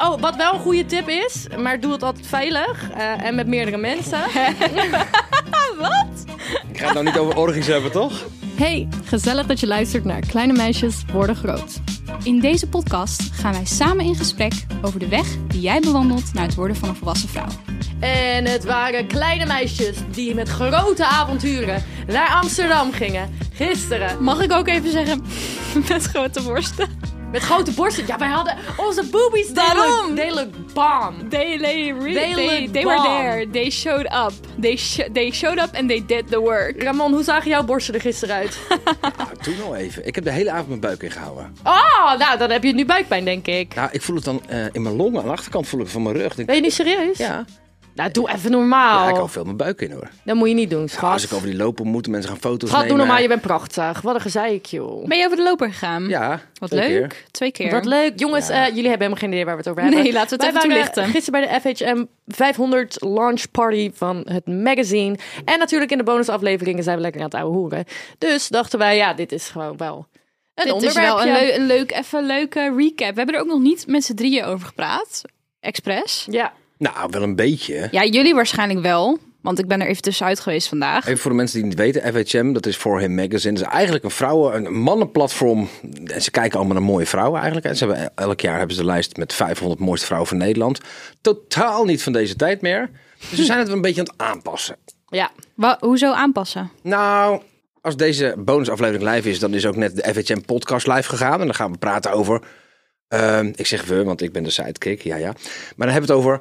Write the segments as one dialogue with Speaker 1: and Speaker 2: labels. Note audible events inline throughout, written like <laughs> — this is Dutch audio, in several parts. Speaker 1: Oh, wat wel een goede tip is, maar doe het altijd veilig eh, en met meerdere mensen.
Speaker 2: Ik ga het nou niet over orgies hebben, toch?
Speaker 1: Hey, gezellig dat je luistert naar Kleine Meisjes Worden Groot.
Speaker 3: In deze podcast gaan wij samen in gesprek over de weg die jij bewandelt naar het worden van een volwassen vrouw.
Speaker 1: En het waren kleine meisjes die met grote avonturen naar Amsterdam gingen. Gisteren.
Speaker 3: Mag ik ook even zeggen, <laughs> met grote worsten.
Speaker 1: Met grote borsten. Ja, wij hadden onze boobies. Daarom. Delijk bam.
Speaker 3: They, they,
Speaker 1: They
Speaker 3: re- they,
Speaker 1: look
Speaker 3: they were
Speaker 1: bomb.
Speaker 3: there. They showed up. They, sho- they showed up and they did the work.
Speaker 1: Ramon, hoe zagen jouw borsten er gisteren uit?
Speaker 2: Nou, doe nou even. Ik heb de hele avond mijn buik ingehouden.
Speaker 1: Oh, nou, dan heb je nu buikpijn, denk ik.
Speaker 2: Nou, ik voel het dan eh, in mijn longen. Aan de achterkant voel ik het van mijn rug. Ik Denk,
Speaker 1: Ben je nu serieus?
Speaker 2: ja.
Speaker 1: Nou, doe even normaal.
Speaker 2: ja, ik hou veel mijn buik in hoor.
Speaker 1: Dat moet je niet doen,
Speaker 2: Als
Speaker 1: schat.
Speaker 2: ik over die lopen moet, mensen gaan foto's
Speaker 1: Schat,
Speaker 2: nemen.
Speaker 1: doe normaal, je bent prachtig. Wat een gezeik, joh.
Speaker 3: Ben je over de loper gegaan?
Speaker 2: Ja,
Speaker 3: Wat
Speaker 2: twee
Speaker 3: leuk.
Speaker 2: keer.
Speaker 3: Twee keer.
Speaker 1: Wat leuk. Jongens, eh, jullie hebben helemaal geen idee waar we het over hebben.
Speaker 3: Nee, laten we het
Speaker 1: Wij
Speaker 3: even
Speaker 1: waren
Speaker 3: toelichten.
Speaker 1: gisteren bij de FHM 500 launch party van het magazine. En natuurlijk in de bonusafleveringen zijn we lekker aan het ouwe hoeren. Dus dachten wij, ja, dit is gewoon wel een
Speaker 3: Dit is
Speaker 1: onderwerpje.
Speaker 3: wel een, leu- een leuk, even leuke recap. We hebben er ook nog niet met z'n drieën over gepraat. Express.
Speaker 1: Ja,
Speaker 2: Nou, wel een beetje.
Speaker 3: Ja, jullie waarschijnlijk wel. Want ik ben er even tussenuit geweest vandaag.
Speaker 2: Even voor de mensen die het niet weten, FHM, dat is For Him Magazine. Dat is eigenlijk een vrouwen, een mannenplatform. En ze kijken allemaal naar mooie vrouwen eigenlijk. En ze hebben, elk jaar hebben ze de lijst met 500 mooiste vrouwen van Nederland. Totaal niet van deze tijd meer. Dus we zijn het wel een beetje aan het aanpassen.
Speaker 1: ja.
Speaker 3: Wa- hoezo aanpassen?
Speaker 2: Nou, als deze bonusaflevering live is, dan is ook net de FHM podcast live gegaan. En dan gaan we praten over. ehm, ik zeg we, want ik ben de sidekick. Ja, ja. Maar dan hebben we het over.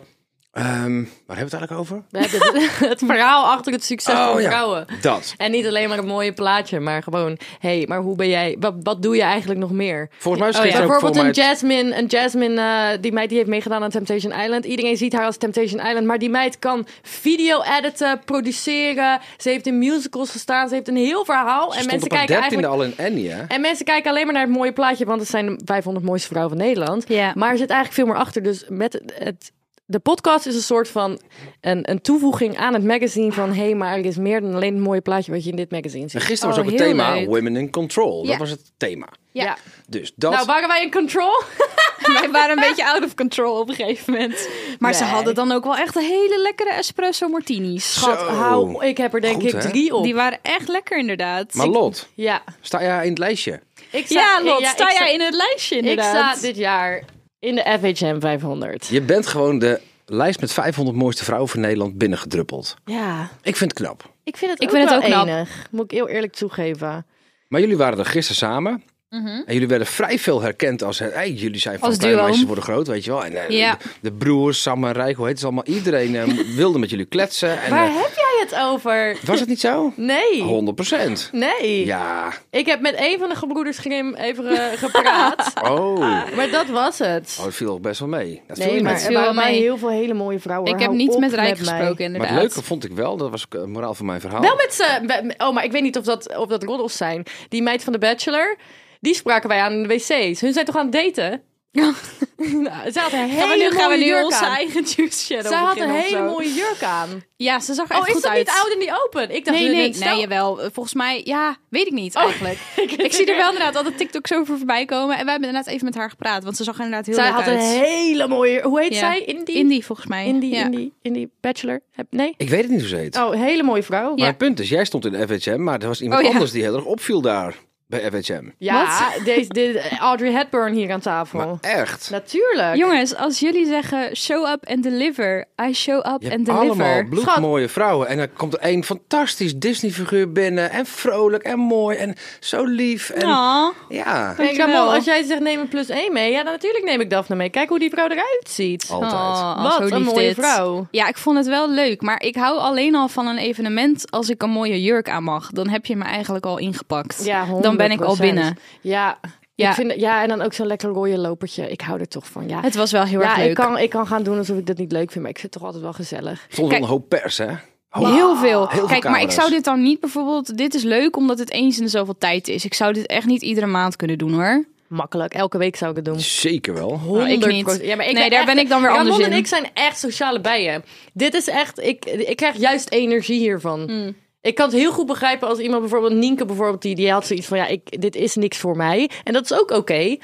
Speaker 2: ehm, waar hebben we het eigenlijk over?
Speaker 1: We hebben het, <laughs> het verhaal achter het succes van
Speaker 2: Oh, ja,
Speaker 1: vrouwen. <laughs>
Speaker 2: Dat.
Speaker 1: En niet alleen maar een mooie plaatje, maar gewoon, hé, hey, maar hoe ben jij, wat, wat doe je eigenlijk nog meer?
Speaker 2: Volgens mij is
Speaker 1: Oh
Speaker 2: het
Speaker 1: ja,
Speaker 2: ook
Speaker 1: bijvoorbeeld
Speaker 2: voor
Speaker 1: een
Speaker 2: mij.
Speaker 1: Jasmine, een Jasmine eh, die meid die heeft meegedaan aan Temptation Island. Iedereen ziet haar als Temptation Island, maar die meid kan video editen, produceren. Ze heeft in musicals gestaan, ze heeft een heel verhaal.
Speaker 2: Ze
Speaker 1: en
Speaker 2: stond
Speaker 1: mensen
Speaker 2: op haar
Speaker 1: kijken
Speaker 2: dertiende
Speaker 1: eigenlijk.
Speaker 2: al in Annie, hè?
Speaker 1: En mensen kijken alleen maar naar het mooie plaatje, want het zijn de 500 mooiste vrouwen van Nederland.
Speaker 3: Ja.
Speaker 1: Maar er zit eigenlijk veel meer achter. Dus met het, het- de podcast is een soort van een, een toevoeging aan het magazine van... hé, hey, maar er is meer dan alleen het mooie plaatje wat je in dit magazine
Speaker 2: En
Speaker 1: ziet.
Speaker 2: gisteren was
Speaker 3: Oh,
Speaker 2: ook het
Speaker 3: heel
Speaker 2: thema
Speaker 3: leuk.
Speaker 2: Women in Control.
Speaker 3: Ja.
Speaker 2: Dat was het thema.
Speaker 3: Ja.
Speaker 2: Dus dat.
Speaker 1: Nou, waren wij in control?
Speaker 3: <laughs> Wij waren een beetje out of control op een gegeven moment. Maar ze
Speaker 1: Nee.
Speaker 3: hadden dan ook wel echt een hele lekkere espresso martinis.
Speaker 1: Schat,
Speaker 2: Zo.
Speaker 1: hou, ik heb er denk
Speaker 2: Goed,
Speaker 1: ik
Speaker 2: hè?
Speaker 1: drie op.
Speaker 3: Die waren echt lekker inderdaad.
Speaker 2: maar Lot,
Speaker 1: Ja,
Speaker 2: sta jij in het lijstje?
Speaker 1: ik
Speaker 3: ja, Lot, sta
Speaker 1: ik
Speaker 3: jij in het lijstje
Speaker 1: Ik
Speaker 3: inderdaad?
Speaker 1: sta dit jaar in de FHM 500.
Speaker 2: Je bent gewoon de lijst met 500 mooiste vrouwen van Nederland binnengedruppeld.
Speaker 1: Ja,
Speaker 2: Ik vind het knap.
Speaker 1: ik vind het
Speaker 3: Ik
Speaker 1: ook
Speaker 3: vind
Speaker 1: wel
Speaker 3: het ook knap.
Speaker 1: enig. Moet ik heel eerlijk toegeven.
Speaker 2: Maar jullie waren er gisteren samen. En jullie werden vrij veel herkend als... Hey, jullie zijn
Speaker 3: Mhm.
Speaker 2: van
Speaker 3: Als
Speaker 2: kleine
Speaker 3: duo.
Speaker 2: meisjes worden groot, weet je wel. En, eh,
Speaker 3: Ja.
Speaker 2: de, de broers, Sam en Rijk, hoe heet ze allemaal? Iedereen eh, <laughs> wilde met jullie kletsen. En,
Speaker 1: Waar
Speaker 2: eh,
Speaker 1: heb jij het over?
Speaker 2: was het niet zo?
Speaker 1: Nee.
Speaker 2: 100 procent.
Speaker 1: Nee.
Speaker 3: <laughs>
Speaker 2: Ja.
Speaker 1: Ik heb met een van de gebroeders Grim even eh, gepraat.
Speaker 2: Oh. oh,
Speaker 1: <laughs> maar dat was het.
Speaker 2: dat viel ook best wel mee. Dat viel
Speaker 1: nee, maar
Speaker 2: mee.
Speaker 1: er
Speaker 3: viel
Speaker 1: waren
Speaker 3: wel
Speaker 1: mij
Speaker 3: mee.
Speaker 1: heel veel hele mooie vrouwen.
Speaker 3: Ik heb
Speaker 1: Hou
Speaker 3: niet
Speaker 1: op
Speaker 3: met Rijk
Speaker 1: mij.
Speaker 3: gesproken
Speaker 2: Maar
Speaker 3: inderdaad.
Speaker 2: het leuke vond ik wel, dat was ook een moraal van mijn verhaal.
Speaker 1: Wel met ze. we- Oh, maar ik weet niet of dat, of dat roddels zijn. Die meid van de Bachelor, die spraken wij aan in de wc's. Hun zijn toch aan het daten? <laughs> nou, ze had een hele
Speaker 3: Gaan we nu, gaan we
Speaker 1: mooie
Speaker 3: nu
Speaker 1: jurk
Speaker 3: onze
Speaker 1: aan.
Speaker 3: eigen juice shadow
Speaker 1: Zij had een
Speaker 3: beginnen of
Speaker 1: hele
Speaker 3: zo?
Speaker 1: mooie jurk aan.
Speaker 3: Ja, ze zag er
Speaker 1: Oh,
Speaker 3: echt
Speaker 1: is
Speaker 3: goed
Speaker 1: dat
Speaker 3: uit.
Speaker 1: niet oud en niet Oh, open? Ik dacht,
Speaker 3: Nee,
Speaker 1: nu-
Speaker 3: nee,
Speaker 1: stel-
Speaker 3: nee, jawel. Eh, Volgens mij, ja, weet ik
Speaker 1: <laughs>
Speaker 3: niet eigenlijk. ik zie er wel inderdaad altijd TikToks over voorbij komen. En wij hebben inderdaad even met haar gepraat, want ze zag er inderdaad heel
Speaker 1: Zij
Speaker 3: leuk
Speaker 1: had
Speaker 3: uit.
Speaker 1: een hele mooie... Hoe heet
Speaker 3: Ja.
Speaker 1: zij? Indie?
Speaker 3: Indie, volgens mij.
Speaker 1: Indie,
Speaker 3: ja.
Speaker 1: Indie, Indie Bachelor? Heb- Nee?
Speaker 2: Ik weet het niet hoe ze heet.
Speaker 1: Oh, hele mooie vrouw.
Speaker 2: Maar het punt is, jij stond in de FHM, maar er was iemand
Speaker 3: Oh, ja.
Speaker 2: anders die heel erg opviel daar bij FHM.
Speaker 1: Ja, deze, dit- Audrey Hepburn hier aan tafel.
Speaker 2: Maar echt.
Speaker 1: Natuurlijk.
Speaker 3: Jongens, als jullie zeggen show up and deliver, I show up
Speaker 2: Je
Speaker 3: and
Speaker 2: hebt
Speaker 3: deliver.
Speaker 2: allemaal bloedmooie vrouwen. En er komt een fantastisch Disney-figuur binnen. En vrolijk en mooi en zo lief. En
Speaker 3: Aw.
Speaker 2: ja,
Speaker 1: Kijk,
Speaker 3: Dankjewel.
Speaker 1: Ramon, als jij zegt neem een plus één mee, ja, dan natuurlijk neem ik Daphne mee. Kijk hoe die vrouw eruit ziet.
Speaker 2: altijd.
Speaker 3: Oh,
Speaker 1: Wat
Speaker 3: zo
Speaker 1: een
Speaker 3: lief
Speaker 1: mooie
Speaker 3: dit.
Speaker 1: vrouw.
Speaker 3: Ja, ik vond het wel leuk, maar ik hou alleen al van een evenement als ik een mooie jurk aan mag. Dan heb je me eigenlijk al ingepakt.
Speaker 1: Ja,
Speaker 3: Dan ben ik al
Speaker 1: 100%.
Speaker 3: binnen.
Speaker 1: Ja,
Speaker 3: Ja.
Speaker 1: Ik vind, het- ja, en dan ook zo'n lekker rode lopertje. Ik hou er toch van, ja.
Speaker 3: Het was wel heel
Speaker 1: ja,
Speaker 3: erg leuk.
Speaker 1: Ik, kan, ik kan gaan doen alsof ik dat niet leuk vind, maar ik vind het toch altijd wel gezellig.
Speaker 2: Stond wel
Speaker 3: Kijk-
Speaker 2: een hoop pers, hè? Hoop-
Speaker 3: Heel veel.
Speaker 2: Heel veel
Speaker 3: Kijk, maar ik
Speaker 2: camera's.
Speaker 3: zou dit dan niet bijvoorbeeld. Dit is leuk omdat het eens in de zoveel tijd is. Ik zou dit echt niet iedere maand kunnen doen hoor.
Speaker 1: Makkelijk, elke week zou ik het doen.
Speaker 2: Zeker wel.
Speaker 3: Nou, ik niet.
Speaker 1: 100%. Ja, maar ik
Speaker 3: Nee, daar
Speaker 1: echt-
Speaker 3: ben ik dan weer
Speaker 1: Ramon
Speaker 3: anders
Speaker 1: en
Speaker 3: in.
Speaker 1: ik zijn echt sociale bijen. Dit is echt... Ik, ik krijg juist energie hiervan.
Speaker 3: Hmm.
Speaker 1: Ik kan het heel goed begrijpen als iemand bijvoorbeeld... Nienke bijvoorbeeld, die, die had zoiets van... Ja, ik, dit is niks voor mij. En dat is ook oké.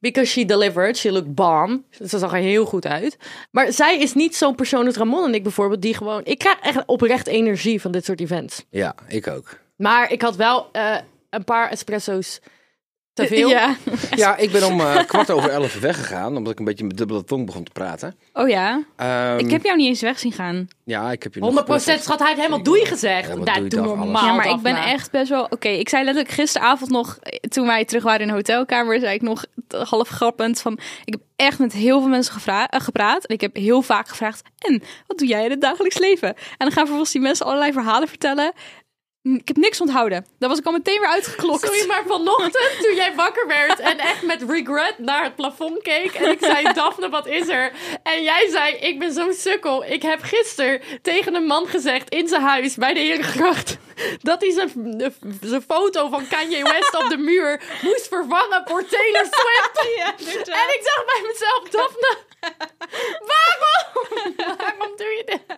Speaker 1: Because she delivered, she looked bomb. Ze zag er heel goed uit. Maar zij is niet zo'n persoon als Ramon en ik bijvoorbeeld... die gewoon... Ik krijg echt oprecht energie van dit soort events.
Speaker 2: Ja, ik ook.
Speaker 1: Maar ik had wel eh, een paar espresso's te veel.
Speaker 3: Eh, Ja.
Speaker 2: Ja, ik ben om eh, kwart over elf weggegaan, omdat ik een beetje met dubbele tong begon te praten.
Speaker 3: Oh ja.
Speaker 2: Ehm,
Speaker 3: Ik heb jou niet eens weg zien gaan.
Speaker 2: Ja, ik heb je nog
Speaker 1: 100%
Speaker 2: geprobeerd.
Speaker 1: schat, hij heeft helemaal doei gezegd.
Speaker 2: Ja, maar
Speaker 1: Daar,
Speaker 2: doei
Speaker 1: doe
Speaker 2: dag, alles.
Speaker 1: normaal.
Speaker 3: ja, maar ik
Speaker 1: Daphne.
Speaker 3: ben echt best wel. Oké, ik zei letterlijk gisteravond nog. eh, Toen wij terug waren in de hotelkamer, zei ik nog t- half grappend van. Ik heb echt met heel veel mensen gevra- eh, gepraat. En ik heb heel vaak gevraagd. En wat doe jij in het dagelijks leven? En dan gaan vervolgens die mensen allerlei verhalen vertellen. N- Ik heb niks onthouden. Daar was ik al meteen weer uitgeklokt.
Speaker 1: Sorry,
Speaker 3: <laughs>
Speaker 1: maar vanochtend toen jij wakker werd en echt met regret naar het plafond keek. En ik
Speaker 3: <laughs>
Speaker 1: zei, Daphne, wat is er? En jij zei, ik ben zo'n sukkel. Ik heb gisteren tegen een man gezegd in zijn huis bij de Herengracht... dat hij zijn, eh, zijn foto van Kanye West op de muur moest vervangen voor Taylor Swift.
Speaker 3: eh,
Speaker 1: En ik dacht bij mezelf, <laughs> Daphne, waarom? Waarom doe je dit?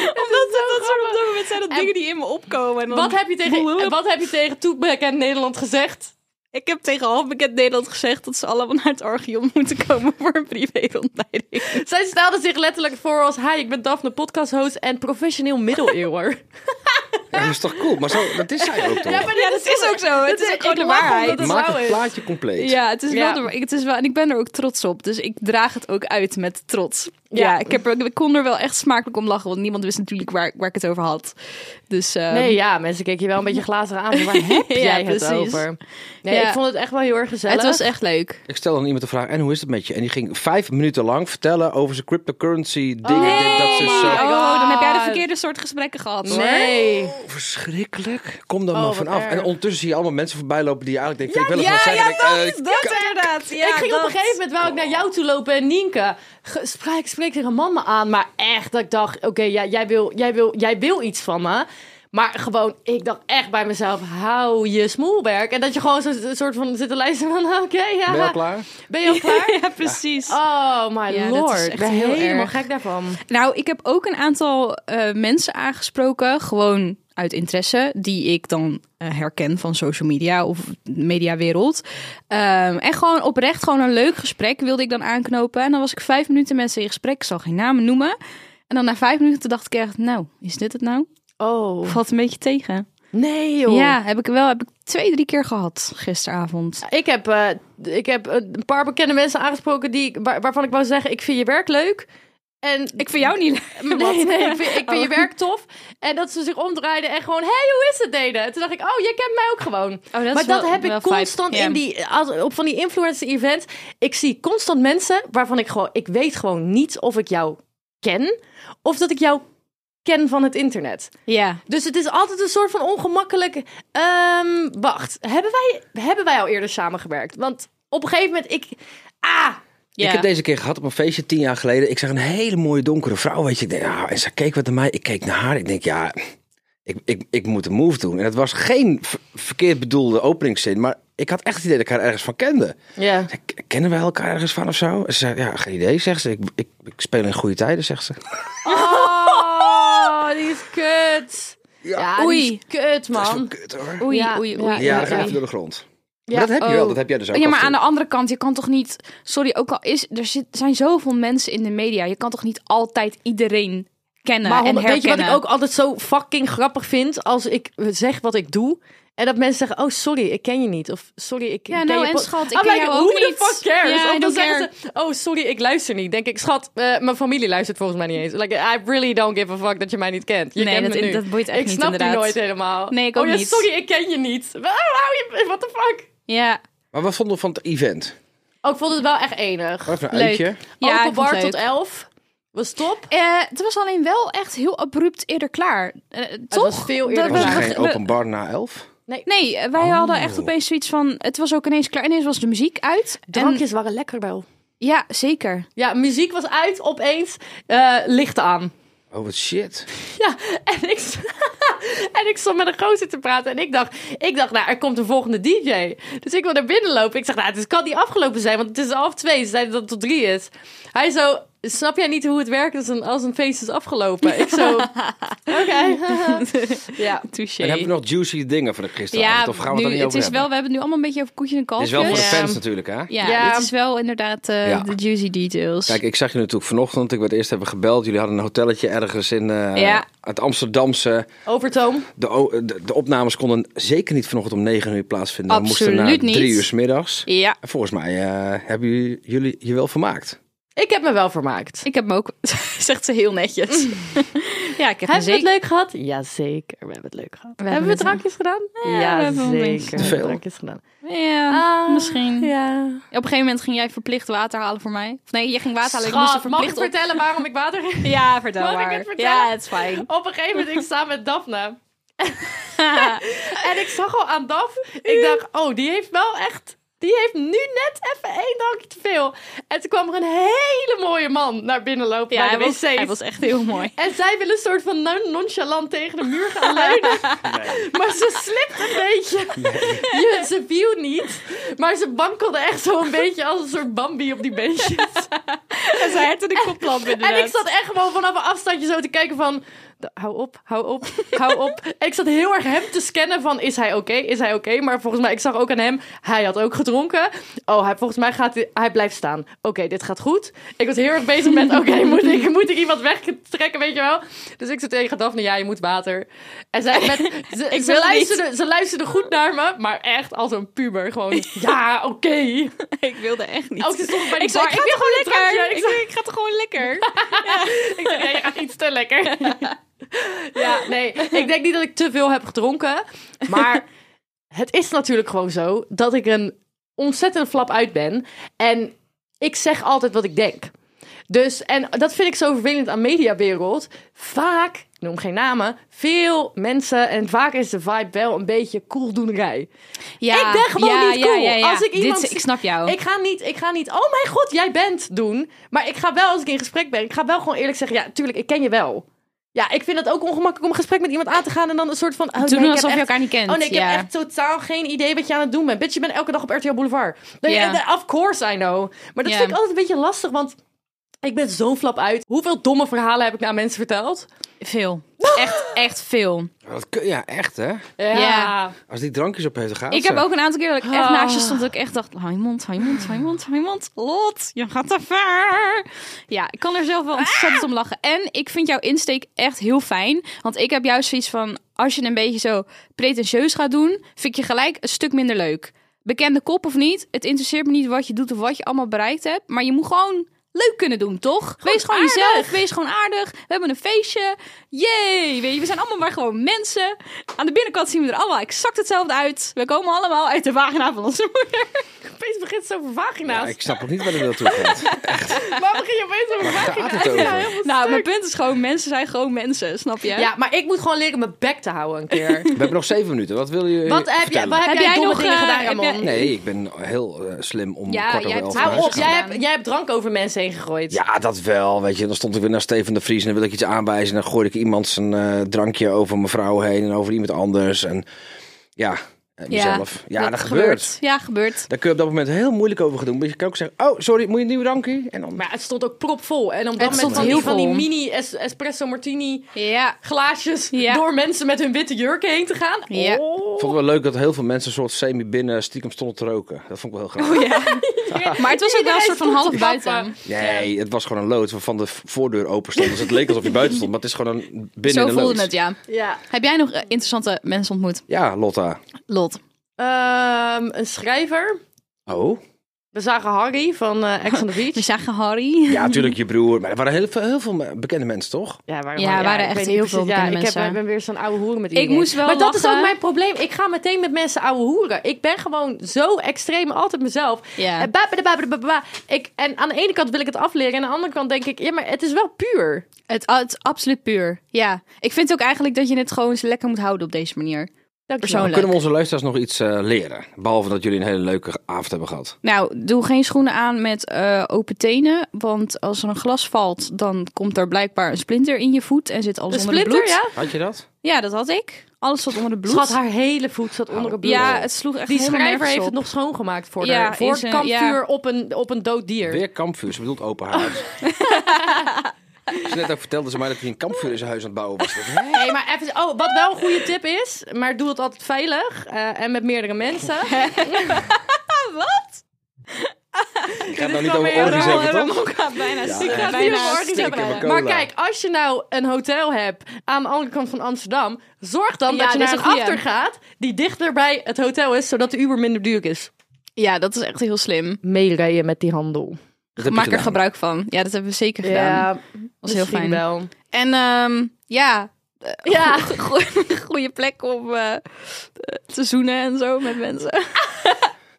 Speaker 3: Omdat dat soort op dat moment zijn dat
Speaker 1: En-
Speaker 3: dingen die in me opkomen. En dan-
Speaker 1: Wat heb je
Speaker 3: <laughs>
Speaker 1: tegen,
Speaker 3: Boehoe.
Speaker 1: wat heb je tegen toebekend Nederland gezegd?
Speaker 3: Ik heb tegen halfbekend Nederland gezegd dat ze allemaal naar het Archeon moeten komen <laughs> voor een privé-rondleiding.
Speaker 1: Zij stelde zich letterlijk voor als... Hi, ik ben Daphne, podcasthost en professioneel <laughs> middeleeuwer.
Speaker 2: Ja, dat is toch cool? Maar zo, dat is zij ook toch?
Speaker 3: Ja, dat is ook zo. Het is ook gewoon de waarheid.
Speaker 1: dat
Speaker 2: Maak
Speaker 1: zou
Speaker 2: het
Speaker 1: het.
Speaker 2: plaatje compleet.
Speaker 3: Ja, het is,
Speaker 1: Ja.
Speaker 3: Wel, de- het is wel. En ik ben er ook trots op. Dus ik draag het ook uit met trots. Ja,
Speaker 1: Ja.
Speaker 3: ik, heb, er- ik kon er wel echt smakelijk om lachen. Want niemand wist natuurlijk waar, waar ik het over had. Dus ehm,
Speaker 1: Nee, ja, mensen keken je wel een beetje glazen aan. <laughs> Waar heb
Speaker 3: Ja,
Speaker 1: jij het
Speaker 3: precies.
Speaker 1: over? Nee,
Speaker 3: Ja.
Speaker 1: ik vond het echt wel heel erg gezellig.
Speaker 3: het was echt leuk.
Speaker 2: Ik stelde aan iemand de vraag, en hoe is het met je? En die ging vijf minuten lang vertellen over zijn cryptocurrency dingen. dit, dat dus, eh, ze zo...
Speaker 1: my
Speaker 3: Oh, dan heb jij de
Speaker 1: God.
Speaker 3: verkeerde soort gesprekken gehad. hoor.
Speaker 1: Nee.
Speaker 2: Oh, verschrikkelijk. Kom daar
Speaker 1: Oh,
Speaker 2: maar
Speaker 1: wat
Speaker 2: vanaf.
Speaker 1: erg.
Speaker 2: En ondertussen zie je allemaal mensen voorbij lopen die je eigenlijk denkt, ik wil
Speaker 3: ja,
Speaker 2: eens wat zeggen.
Speaker 3: ja,
Speaker 2: En ik, eh,
Speaker 3: Dat inderdaad. Ja,
Speaker 1: ik ging op
Speaker 3: dat.
Speaker 1: een gegeven moment wou ik naar jou toe lopen en Nienke. ge- Spraak, ik spreek tegen een man me aan, maar echt dat ik dacht, oké, ja, jij, wil, jij, wil, jij wil iets van me. Maar gewoon, ik dacht echt bij mezelf, hou je smoelwerk. En dat je gewoon zo'n soort van zit te luisteren van, <laughs> oké, ja.
Speaker 2: ben je al klaar?
Speaker 1: Ben je al klaar?
Speaker 3: Ja, precies.
Speaker 1: Oh my
Speaker 3: Ja, dat is
Speaker 1: lord.
Speaker 3: echt
Speaker 1: ik ben
Speaker 3: heel
Speaker 1: helemaal
Speaker 3: erg.
Speaker 1: gek daarvan.
Speaker 3: Nou, ik heb ook een aantal eh, mensen aangesproken, gewoon uit interesse, die ik dan eh, herken van social media of mediawereld. Ehm, en gewoon oprecht, gewoon een leuk gesprek wilde ik dan aanknopen. En dan was ik vijf minuten mensen in gesprek, ik zal geen namen noemen. En dan na vijf minuten dacht ik echt, nou, is dit het nou?
Speaker 1: Oh.
Speaker 3: Valt een beetje tegen.
Speaker 1: Nee joh.
Speaker 3: Ja, heb ik wel, heb ik twee, drie keer gehad gisteravond.
Speaker 1: Ik heb, eh, ik heb een paar bekende mensen aangesproken die, ik- waar- waarvan ik wou zeggen, ik vind je werk leuk. En
Speaker 3: Ik vind jou niet leuk. Oh.
Speaker 1: nee, nee, ik vind, ik vind je werk tof. En dat ze zich omdraaiden en gewoon, hé, hey, hoe is het deden? En toen dacht ik, oh, jij kent mij ook gewoon.
Speaker 3: Oh, dat is
Speaker 1: maar dat
Speaker 3: wel-
Speaker 1: heb
Speaker 3: wel
Speaker 1: ik
Speaker 3: vibe,
Speaker 1: constant
Speaker 3: ja.
Speaker 1: in die, als, op van die influencer events. Ik zie constant mensen waarvan ik gewoon, ik weet gewoon niet of ik jou ken of dat ik jou ken van het internet.
Speaker 3: Ja.
Speaker 1: Dus het is altijd een soort van ongemakkelijk. ehm, wacht, hebben wij, hebben wij al eerder samengewerkt? Want op een gegeven moment, ik. Ah!
Speaker 3: ja.
Speaker 2: Ik heb deze keer gehad op een feestje tien jaar geleden. Ik zag een hele mooie donkere vrouw. Weet je, ik denk, ja, en ze keek wat naar mij. Ik keek naar haar. Ik denk, ja, ik, ik, ik moet een move doen. En het was geen ver- verkeerd bedoelde openingszin. Maar ik had echt het idee dat ik haar ergens van kende.
Speaker 1: Ja.
Speaker 2: Ik zei, Kennen wij elkaar ergens van of zo? En ze zei, ja, geen idee, zegt ze. Ik, ik, ik speel in goede tijden, zegt ze.
Speaker 1: Oh, die is kut. Ja,
Speaker 3: Oei.
Speaker 1: die is kut,
Speaker 2: Dat is wel
Speaker 1: man.
Speaker 2: kut hoor.
Speaker 3: Oei,
Speaker 1: Ja.
Speaker 3: oei, oei.
Speaker 1: Ja,
Speaker 2: Ja, dan
Speaker 1: oké.
Speaker 2: ga je even door de grond.
Speaker 1: Ja,
Speaker 2: Maar dat heb je wel,
Speaker 3: oh.
Speaker 2: dat heb jij dus ook.
Speaker 3: Ja,
Speaker 2: af
Speaker 3: maar
Speaker 2: en
Speaker 3: aan
Speaker 2: toe.
Speaker 3: de andere kant, je kan toch niet. Sorry, ook al is er zit, zijn zoveel mensen in de media, je kan toch niet altijd iedereen kennen
Speaker 1: Maar
Speaker 3: en
Speaker 1: honderd-
Speaker 3: herkennen.
Speaker 1: weet je wat ik ook altijd zo fucking grappig vind? Als ik zeg wat ik doe. En dat mensen zeggen, oh sorry, ik ken je niet. Of sorry, ik
Speaker 3: Ja,
Speaker 1: ken
Speaker 3: nou,
Speaker 1: je
Speaker 3: en
Speaker 1: pod-
Speaker 3: schat, ik
Speaker 1: I'm
Speaker 3: ken
Speaker 1: like,
Speaker 3: jou
Speaker 1: who
Speaker 3: ook
Speaker 1: the
Speaker 3: niet.
Speaker 1: fuck cares?
Speaker 3: Ja, I
Speaker 1: of dan
Speaker 3: don't
Speaker 1: zeggen ze, oh sorry, ik luister niet. Denk ik, schat, eh, mijn familie luistert volgens mij niet eens. Like, I really don't give a fuck dat je mij niet kent. Je
Speaker 3: Nee,
Speaker 1: kent
Speaker 3: dat-
Speaker 1: me nu.
Speaker 3: dat boeit echt
Speaker 1: ik
Speaker 3: niet,
Speaker 1: snap die
Speaker 3: inderdaad.
Speaker 1: nooit helemaal.
Speaker 3: Nee, ik ook
Speaker 1: oh, ja,
Speaker 3: niet.
Speaker 1: sorry, ik ken je niet. Oh, hou je- what the fuck?
Speaker 3: Ja,
Speaker 2: Maar wat vonden we van het event?
Speaker 1: Oh, ik vond het wel echt enig.
Speaker 2: Even een
Speaker 3: leuk.
Speaker 2: uitje.
Speaker 3: Ja,
Speaker 1: Open
Speaker 3: ik vond
Speaker 1: bar
Speaker 3: het leuk.
Speaker 1: tot 11. Was top.
Speaker 3: Eh, het was alleen wel echt heel abrupt eerder klaar. Eh, toch?
Speaker 1: was veel eerder
Speaker 3: Dat we-
Speaker 2: Was er
Speaker 1: klaar.
Speaker 3: we-
Speaker 2: geen
Speaker 3: we-
Speaker 2: openbar na elf?
Speaker 1: Nee.
Speaker 3: Nee, eh, wij hadden echt opeens zoiets van... Het was ook ineens klaar. Ineens was de muziek uit. En,
Speaker 1: Drankjes waren lekker wel.
Speaker 3: ja, zeker.
Speaker 1: Ja, muziek was uit, opeens eh lichten aan. <laughs>
Speaker 2: Oh, wat shit.
Speaker 1: Ja, en ik, st- <laughs> en ik stond met een gozer te praten. En ik dacht, ik dacht, nou, er komt een volgende DJ. Dus ik wil naar binnen lopen. Ik zeg, nou, het kan niet afgelopen zijn, want het is half twee. Ze zeiden dat het tot drie is. Hij zo, snap jij niet hoe het werkt als een, als een feest is afgelopen? Ik zo, oké. ja.
Speaker 3: Touché.
Speaker 2: En hebben we nog juicy dingen van gisteravond?
Speaker 3: ja,
Speaker 2: of gaan we
Speaker 3: nu,
Speaker 2: het er niet
Speaker 3: het
Speaker 2: over
Speaker 3: is
Speaker 2: hebben?
Speaker 3: wel, we hebben het nu allemaal een beetje over koetje en
Speaker 2: Dit
Speaker 3: kalfjes.
Speaker 2: is wel voor de
Speaker 1: Ja.
Speaker 2: fans natuurlijk, hè?
Speaker 3: Ja,
Speaker 1: Ja.
Speaker 3: dit is wel inderdaad eh,
Speaker 2: Ja.
Speaker 3: de juicy details.
Speaker 2: Kijk, ik zag je natuurlijk vanochtend. Ik werd eerst hebben gebeld. Jullie hadden een hotelletje ergens in eh,
Speaker 3: Ja.
Speaker 2: het Amsterdamse.
Speaker 1: Overtoom.
Speaker 2: De, o- de, de opnames konden zeker niet vanochtend om 9 uur plaatsvinden. We moesten
Speaker 3: Absoluut
Speaker 2: na
Speaker 3: niet.
Speaker 2: drie uur 's middags.
Speaker 3: Ja,
Speaker 2: En volgens mij eh, hebben jullie- jullie je wel vermaakt.
Speaker 1: Ik heb me wel vermaakt.
Speaker 3: ik heb hem ook, <laughs> zegt ze heel <laughs> netjes. ja, ik heb hem
Speaker 1: Hebben we het
Speaker 3: zeker.
Speaker 1: leuk gehad? Jazeker, we hebben het leuk gehad. hebben, we
Speaker 3: hebben het-
Speaker 1: drankjes gedaan?
Speaker 3: Ja, we hebben wel een beetje.
Speaker 1: we hebben
Speaker 2: Te veel.
Speaker 1: drankjes gedaan.
Speaker 3: Ja,
Speaker 1: Ah,
Speaker 3: misschien.
Speaker 1: Ja.
Speaker 3: Op een gegeven moment ging jij verplicht water halen voor mij. Of nee, je ging water halen. ik moest er
Speaker 1: Schat, mag ik
Speaker 3: verplicht op.
Speaker 1: vertellen waarom ik water <laughs>
Speaker 3: Ja, vertel
Speaker 1: Mag ik
Speaker 3: maar.
Speaker 1: het vertellen?
Speaker 3: Ja, het Oh, is fijn.
Speaker 1: Op een gegeven moment, ik sta met
Speaker 3: <laughs>
Speaker 1: Daphne. en ik zag al aan Daf, ik dacht, oh, die heeft wel echt... Die heeft nu net even één drankje te veel. En toen kwam er een hele mooie man naar binnen lopen
Speaker 3: Ja,
Speaker 1: bij
Speaker 3: hij
Speaker 1: de
Speaker 3: was,
Speaker 1: wc's.
Speaker 3: hij was echt heel <laughs> mooi.
Speaker 1: En zij wil een soort van non- nonchalant tegen de muur gaan leunen. Maar ze slipt een beetje. Je, ze viel niet. Maar ze wankelde echt zo een beetje als een soort Bambi op die beentjes.
Speaker 3: <laughs> En zij had een kopplan binnen.
Speaker 1: En ik zat echt gewoon vanaf een afstandje zo te kijken van... "D- Hou op, hou op, hou
Speaker 3: <laughs>
Speaker 1: op. Ik zat heel erg hem te scannen van, is hij oké, is hij oké? Maar volgens mij, ik zag ook aan hem, hij had ook gedronken. Oh, hij, volgens mij gaat hij, hij blijft staan. Oké, dit gaat goed. Ik was heel erg bezig
Speaker 3: <laughs>
Speaker 1: met, oké, moet, ik, moet ik iemand wegtrekken, weet je wel? Dus ik zei tegen Daphne, ja, je moet water. En zij
Speaker 3: <laughs>
Speaker 1: met, ze,
Speaker 3: Ik
Speaker 1: ze,
Speaker 3: wil
Speaker 1: luisterde, ze luisterde goed naar me, maar echt als een puber.
Speaker 3: <laughs>
Speaker 1: Gewoon, ja, oké.
Speaker 3: ik wilde echt niet.
Speaker 1: Ook ze stond bij de
Speaker 3: ik zei,
Speaker 1: bar.
Speaker 3: Oh, ik ga
Speaker 1: wil
Speaker 3: toch gewoon
Speaker 1: een drankje. Ik
Speaker 3: lekker. Ik,
Speaker 1: zei,
Speaker 3: zei, ik ga toch gewoon lekker.
Speaker 1: ik dacht, <laughs> ja, je gaat iets te lekker. <laughs> ja, nee. Ik denk niet dat ik te veel heb gedronken. Maar het is natuurlijk gewoon zo dat ik een ontzettende flap uit ben. En ik zeg altijd wat ik denk. Dus, en dat vind ik zo vervelend aan mediawereld. Vaak, ik noem geen namen, veel mensen... en vaak is de vibe wel een beetje koeldoenerij.
Speaker 3: <laughs> Ja,
Speaker 1: Ik ben gewoon niet cool. Als ik iemand
Speaker 3: Dit,
Speaker 1: zie-
Speaker 3: ik snap jou.
Speaker 1: Ik ga niet, ik ga niet, oh mijn god, jij bent doen. Maar ik ga wel, als ik in gesprek ben, ik ga wel gewoon eerlijk zeggen, ja, tuurlijk, ik ken je wel. Ja, ik vind het ook ongemakkelijk om een gesprek met iemand aan te gaan en dan een soort van... Oh,
Speaker 3: Toen
Speaker 1: nee, ik
Speaker 3: alsof
Speaker 1: heb
Speaker 3: je
Speaker 1: echt-
Speaker 3: elkaar niet kent.
Speaker 1: Oh nee, ik
Speaker 3: ja.
Speaker 1: heb echt totaal geen idee wat je aan het doen bent. Bitch, je bent elke dag op RTL Boulevard. Dan-
Speaker 3: Ja.
Speaker 1: Of course I know. Maar dat
Speaker 3: Ja.
Speaker 1: vind ik altijd een beetje lastig, want ik ben zo'n flap uit. Hoeveel domme verhalen heb ik nou aan mensen verteld?
Speaker 3: <laughs> Veel. Echt, echt veel.
Speaker 2: Dat kun, ja, echt hè.
Speaker 1: Ja.
Speaker 3: Ja.
Speaker 2: Als die drankjes op heeft, dan gaat
Speaker 3: Ik
Speaker 2: ze.
Speaker 3: heb ook een aantal keer dat ik echt
Speaker 1: Ah.
Speaker 3: naast je stond dat ik echt dacht, hou je mond, hou je mond, hou je mond, hou je mond. Lot, je gaat te ver. Ja, ik kan er zelf wel ontzettend om lachen. En ik vind jouw insteek echt heel fijn. Want ik heb juist zoiets van, als je een beetje zo pretentieus gaat doen, vind ik je gelijk een stuk minder leuk. Bekende kop of niet, het interesseert me niet wat je doet of wat je allemaal bereikt hebt. Maar je moet gewoon leuk kunnen doen, toch? wees gewoon
Speaker 1: aardig.
Speaker 3: jezelf, wees gewoon aardig. We hebben een feestje. Yay! Weet je, we zijn allemaal maar gewoon mensen. Aan de binnenkant zien we er allemaal exact hetzelfde uit. We komen allemaal uit de vagina van onze <laughs> moeder.
Speaker 1: <laughs> Opeens begint het over vagina's.
Speaker 2: Ja, ik snap ook niet waar dit
Speaker 3: <laughs>
Speaker 2: naartoe gaat.
Speaker 1: Maar begin je opeens over
Speaker 2: Waar gaat
Speaker 1: vagina's?
Speaker 2: het over?
Speaker 1: Ja, helemaal
Speaker 3: Nou, mijn
Speaker 1: stuk.
Speaker 3: punt is gewoon, mensen zijn gewoon mensen, snap je?
Speaker 1: ja, maar ik moet gewoon leren mijn bek te houden een
Speaker 3: <laughs>
Speaker 1: keer.
Speaker 2: We hebben nog zeven minuten. Wat wil je
Speaker 1: Wat heb, jij,
Speaker 2: vertellen?
Speaker 1: wat heb,
Speaker 3: Heb
Speaker 1: jij,
Speaker 3: jij
Speaker 1: domme
Speaker 3: nog,
Speaker 1: dingen
Speaker 3: eh,
Speaker 1: gedaan,
Speaker 3: heb
Speaker 1: Ramon?
Speaker 3: jij-
Speaker 2: Nee, ik ben heel eh, slim om
Speaker 3: Ja,
Speaker 2: kwart over
Speaker 3: jij
Speaker 2: elf
Speaker 3: hebt-
Speaker 2: naar
Speaker 1: Hou
Speaker 2: huis
Speaker 1: op,
Speaker 2: te gaan.
Speaker 1: jij hebt, jij hebt drank over mensen heen gegooid.
Speaker 2: Ja, dat wel. Weet je, dan stond ik weer naar Steven de Vries en dan wil ik iets aanwijzen. En dan gooi ik iemand zijn eh, drankje over mijn vrouw heen en over iemand anders. En ja, en mezelf. Ja, dat, gebeurt.
Speaker 3: Ja, gebeurt.
Speaker 2: Daar kun je op dat moment heel moeilijk over gaan doen. Maar je kan ook zeggen, oh, sorry, moet je een nieuw drankje? En dan...
Speaker 1: Maar het stond ook propvol. En op
Speaker 3: Het
Speaker 1: dat moment
Speaker 3: stond
Speaker 1: van die,
Speaker 3: heel
Speaker 1: van die
Speaker 3: vol.
Speaker 1: mini es- espresso martini
Speaker 3: Ja.
Speaker 1: glaasjes
Speaker 3: Ja.
Speaker 1: door mensen met hun witte jurken heen te gaan.
Speaker 3: Ja.
Speaker 1: Oh.
Speaker 2: Ik vond het wel leuk dat heel veel mensen een soort semi-binnen stiekem stonden te roken. Dat vond ik wel heel grappig.
Speaker 3: Maar het was ook wel een soort van half buiten.
Speaker 2: Nee, het was gewoon een loods waarvan de voordeur open stond. Dus het leek alsof je buiten stond, maar het is gewoon een binnen
Speaker 3: Zo
Speaker 2: in een loods.
Speaker 3: voelde het, ja.
Speaker 1: Ja.
Speaker 3: Heb jij nog eh, interessante mensen ontmoet?
Speaker 2: Ja, Lotta.
Speaker 3: Lot.
Speaker 1: Ehm, een schrijver.
Speaker 2: Oh?
Speaker 1: We zagen Harry van eh Ex on the <laughs>
Speaker 3: We
Speaker 1: Beach.
Speaker 3: zagen Harry.
Speaker 2: Ja, natuurlijk je broer. Maar er waren heel veel, heel veel bekende mensen, toch?
Speaker 1: Ja, waar,
Speaker 3: Ja,
Speaker 1: waar-
Speaker 3: er waren
Speaker 1: ik
Speaker 3: echt
Speaker 1: weet
Speaker 3: heel
Speaker 1: niet
Speaker 3: veel
Speaker 1: precies. ja, ik,
Speaker 3: bekende
Speaker 1: heb,
Speaker 3: mensen.
Speaker 1: ik ben weer zo'n oude hoer met iedereen.
Speaker 3: moest wel
Speaker 1: Maar dat is
Speaker 3: lachen.
Speaker 1: ook mijn probleem. Ik ga meteen met mensen oude hoeren. Ik ben gewoon zo extreem altijd mezelf.
Speaker 3: Ja.
Speaker 1: En, ba- ba- ba- ba- ba- ba- ik, en aan de ene kant wil ik het afleren. En aan de andere kant denk ik, ja, maar het is wel puur.
Speaker 3: Het, het is absoluut puur. Ja. Ik vind ook eigenlijk dat je het gewoon eens lekker moet houden op deze manier. Persoonlijk.
Speaker 2: Nou, Kunnen we onze luisteraars nog iets eh, leren? Behalve dat jullie een hele leuke avond hebben gehad.
Speaker 3: Nou, doe geen schoenen aan met eh, open tenen. Want als er een glas valt, dan komt er blijkbaar een splinter in je voet. En zit alles
Speaker 1: Een
Speaker 3: onder de
Speaker 1: splinter,
Speaker 3: bloed.
Speaker 1: ja?
Speaker 2: Had je dat?
Speaker 3: Ja, dat had ik. Alles zat onder de bloed. Oh.
Speaker 1: Schat, haar hele voet zat onder het bloed.
Speaker 3: Ja, het sloeg echt
Speaker 1: Die
Speaker 3: helemaal
Speaker 1: schrijver
Speaker 3: nergens
Speaker 1: heeft het
Speaker 3: op.
Speaker 1: nog schoongemaakt voor
Speaker 3: Ja,
Speaker 1: haar. Voor
Speaker 3: is een-
Speaker 1: kampvuur
Speaker 3: ja.
Speaker 1: op, een, op een dood dier.
Speaker 2: Weer kampvuur. Ze bedoelt open
Speaker 1: <laughs>
Speaker 2: haard. Ze net ook vertelde ze mij dat hij een kampvuur in zijn huis aan het bouwen was.
Speaker 1: <laughs>
Speaker 2: Ik dacht, hè?
Speaker 1: Hey, maar even, oh, wat wel een goede tip is, maar doe het altijd veilig eh, en met meerdere
Speaker 3: <laughs>
Speaker 1: mensen.
Speaker 2: Ik ga het nou
Speaker 1: is
Speaker 2: niet
Speaker 1: wel
Speaker 2: over
Speaker 1: weer
Speaker 2: orgies
Speaker 1: een
Speaker 2: hebben, toch?
Speaker 1: <laughs>
Speaker 3: gaat bijna
Speaker 2: Ja, eh,
Speaker 3: stuk-
Speaker 2: ik ga
Speaker 1: het
Speaker 3: bijna
Speaker 1: niet over orgies
Speaker 3: stuk
Speaker 1: hebben.
Speaker 3: bellen.
Speaker 2: Cola.
Speaker 1: Maar kijk, als je nou een hotel hebt aan de andere kant van Amsterdam, zorg dan
Speaker 3: Ja,
Speaker 1: dat je
Speaker 3: dit is
Speaker 1: naar een
Speaker 3: een goeie.
Speaker 1: after gaat die dichter bij het hotel is, zodat de Uber minder duur is.
Speaker 3: Ja, dat is echt heel slim.
Speaker 1: Meerijden met die handel.
Speaker 2: Dat heb je
Speaker 3: Maak er
Speaker 2: gedaan.
Speaker 3: gebruik van. Ja, dat hebben we zeker gedaan. was heel
Speaker 1: misschien
Speaker 3: fijn.
Speaker 1: wel.
Speaker 3: En ehm, ja, <laughs>
Speaker 1: Ja,
Speaker 3: goede plek om eh, te zoenen en zo met mensen.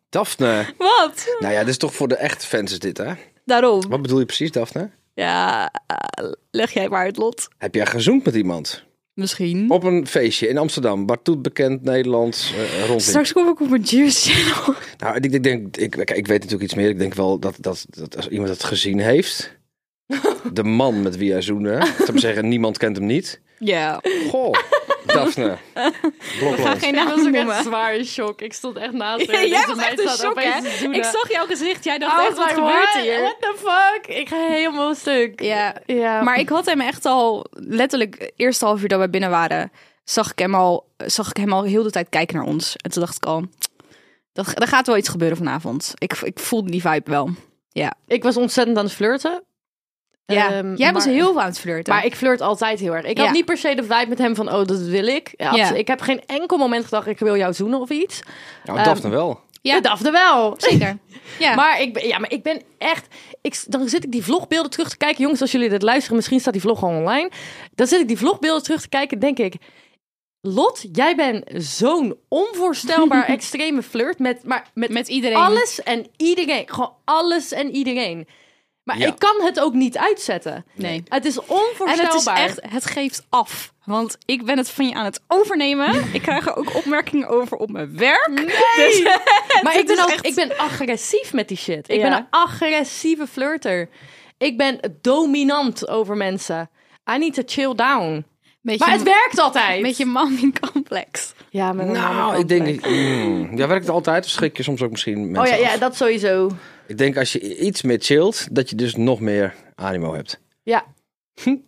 Speaker 2: Daphne.
Speaker 3: Wat?
Speaker 2: Nou ja, dit is toch voor de echte fans is dit, hè?
Speaker 3: Daarom.
Speaker 2: Wat bedoel je precies, Daphne?
Speaker 3: Ja, eh, leg jij maar het lot.
Speaker 2: Heb jij gezoend met iemand?
Speaker 3: Misschien.
Speaker 2: Op een feestje in Amsterdam. Bartoet bekend, Nederlands, eh rondom.
Speaker 3: Straks kom ik op een Juice Channel.
Speaker 2: Nou, ik, ik denk, ik, ik weet natuurlijk iets meer. Ik denk wel dat, dat, dat als iemand het gezien heeft,
Speaker 1: <laughs>
Speaker 2: de man met wie hij zoende, te zeggen, <laughs> niemand kent hem niet.
Speaker 3: Ja.
Speaker 2: Goh, Daphne. Blokland.
Speaker 3: geen
Speaker 1: dat was ook echt zwaar in shock. Ik stond echt naast haar. en
Speaker 3: Jij
Speaker 1: deze
Speaker 3: was
Speaker 1: meid
Speaker 3: echt een
Speaker 1: staat
Speaker 3: shock,
Speaker 1: opeens
Speaker 3: hè?
Speaker 1: te zoenen.
Speaker 3: Ik zag jouw gezicht. Jij
Speaker 1: I
Speaker 3: dacht
Speaker 1: was
Speaker 3: echt, Oh
Speaker 1: like,
Speaker 3: wat gebeurt
Speaker 1: what?
Speaker 3: hier?
Speaker 1: What the fuck? Ik ga helemaal stuk.
Speaker 3: Ja.
Speaker 1: ja.
Speaker 3: Maar ik had hem echt al, letterlijk, het eerste half uur dat wij binnen waren, zag ik hem al, zag ik hem al heel de tijd kijken naar ons. En toen dacht ik al, dat, er gaat wel iets gebeuren vanavond. Ik, ik voelde die vibe wel.
Speaker 1: Ik was ontzettend aan het flirten.
Speaker 3: Ja.
Speaker 1: Ehm,
Speaker 3: Jij was
Speaker 1: maar-
Speaker 3: heel veel aan het flirten.
Speaker 1: Maar ik flirt altijd heel erg. Ik
Speaker 3: Ja.
Speaker 1: had niet per se de vibe met hem van, oh, dat wil ik. Ja,
Speaker 3: Ja.
Speaker 1: absolu- Ik heb geen enkel moment gedacht, ik wil jou zoenen of iets.
Speaker 2: Nou,
Speaker 1: Ehm,
Speaker 2: Daphne wel.
Speaker 3: Ja.
Speaker 1: Ja, dat Daphne wel.
Speaker 3: zeker. Ja.
Speaker 1: Maar ik, ben, ja, maar ik ben echt... Ik, dan zit ik die vlogbeelden terug te kijken. Jongens, als jullie dit luisteren, misschien staat die vlog al online. Dan zit ik die vlogbeelden terug te kijken, denk ik... Lot, jij bent zo'n onvoorstelbaar extreme flirt met, maar met,
Speaker 3: <laughs> met iedereen.
Speaker 1: alles en iedereen. Gewoon alles en iedereen. Maar
Speaker 2: Ja.
Speaker 1: ik kan het ook niet uitzetten.
Speaker 3: Nee.
Speaker 1: Het is
Speaker 3: En
Speaker 1: onvoorstelbaar.
Speaker 3: het is echt, het geeft af. Want ik ben het van je aan het overnemen. ik krijg er ook opmerkingen over op mijn werk. Dus-
Speaker 1: Maar
Speaker 3: Het
Speaker 1: ik ben
Speaker 3: is
Speaker 1: ook
Speaker 3: echt-
Speaker 1: ik ben agressief met die shit. Ik
Speaker 3: Ja.
Speaker 1: ben een agressieve flirter. Ik ben dominant over mensen. I need to chill down.
Speaker 3: Beetje-
Speaker 1: Maar het werkt altijd.
Speaker 3: Met je mommy complex.
Speaker 1: Ja, met een
Speaker 2: Nou,
Speaker 1: andere
Speaker 2: ik denk...
Speaker 1: kant.
Speaker 2: Mm, ja, werkt het altijd of schrik je soms ook misschien mensen
Speaker 1: Oh ja,
Speaker 2: af?
Speaker 1: ja, dat sowieso.
Speaker 2: Ik denk als je iets meer chillt, dat je dus nog meer animo hebt. Hm.
Speaker 1: Ja,
Speaker 2: Een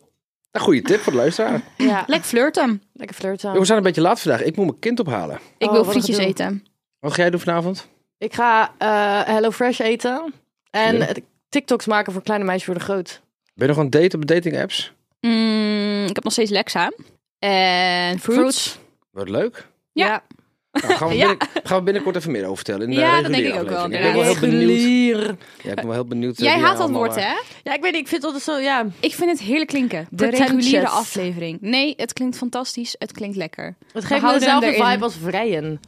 Speaker 2: goede tip voor de luisteraar.
Speaker 1: ja.
Speaker 3: Lekker flirten.
Speaker 1: <clears throat> lekker flirten.
Speaker 2: Yo, we zijn een beetje laat vandaag. Ik moet mijn kind ophalen.
Speaker 3: Ik
Speaker 1: Oh, wat
Speaker 3: wil
Speaker 1: een
Speaker 3: frietjes
Speaker 1: gedoe.
Speaker 3: eten.
Speaker 2: Wat ga jij doen vanavond?
Speaker 1: Ik ga eh Hello Fresh eten en
Speaker 2: Leuk.
Speaker 1: eh, TikToks maken voor kleine meisjes voor de groot.
Speaker 2: Ben je nog aan het daten op dating apps?
Speaker 3: Mm, ik heb nog steeds Lexa. En fruits.
Speaker 2: Wat leuk.
Speaker 3: Ja.
Speaker 2: Nou, gaan, we
Speaker 3: <laughs> Ja.
Speaker 2: binnen- gaan we binnenkort even meer over in de
Speaker 3: Ja, dat
Speaker 2: reguliere
Speaker 3: denk ik ook wel,
Speaker 2: aflevering. Ik ben wel heel benieuwd.
Speaker 1: Regulier.
Speaker 2: Ja, ik ben wel heel benieuwd. eh,
Speaker 3: Jij
Speaker 2: wie
Speaker 3: haat dat
Speaker 2: allemaal,
Speaker 3: woord,
Speaker 2: eh,
Speaker 3: hè?
Speaker 1: Ja, ik weet niet, ik vind het altijd zo, ja.
Speaker 3: Ik vind het heerlijk klinken. De
Speaker 1: Pretentious.
Speaker 3: reguliere aflevering. Nee, het klinkt fantastisch. Het klinkt lekker.
Speaker 1: Het
Speaker 3: We
Speaker 1: geeft me
Speaker 3: houden hem
Speaker 1: dezelfde
Speaker 3: erin.
Speaker 1: vibe als vrijen.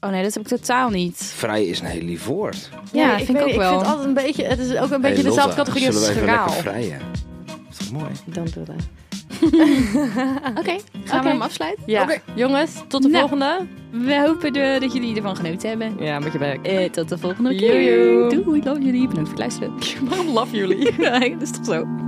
Speaker 3: Oh nee, dat heb ik totaal niet.
Speaker 2: Vrij is een heel lief woord. Een
Speaker 3: Ja, vind ik ook wel.
Speaker 1: Ik vind het altijd een beetje, het is ook een beetje dezelfde categorie als
Speaker 2: Zullen we even
Speaker 1: schaal.
Speaker 2: lekker vrijen? Dat is mooi.
Speaker 1: Dan doen we.
Speaker 3: Oké, gaan we
Speaker 1: Oké.
Speaker 3: hem afsluiten?
Speaker 1: Ja,
Speaker 3: Oké.
Speaker 1: jongens, tot de
Speaker 3: Nou.
Speaker 1: volgende.
Speaker 3: We hopen eh, dat jullie ervan genoten hebben.
Speaker 1: Ja, met je bek.
Speaker 3: Eh, tot de volgende keer.
Speaker 1: Joejoe.
Speaker 3: Doei, love jullie. Bedankt voor het luisteren.
Speaker 1: <laughs>
Speaker 3: <laughs>
Speaker 1: Waarom love jullie?
Speaker 3: Nee, dat is toch zo?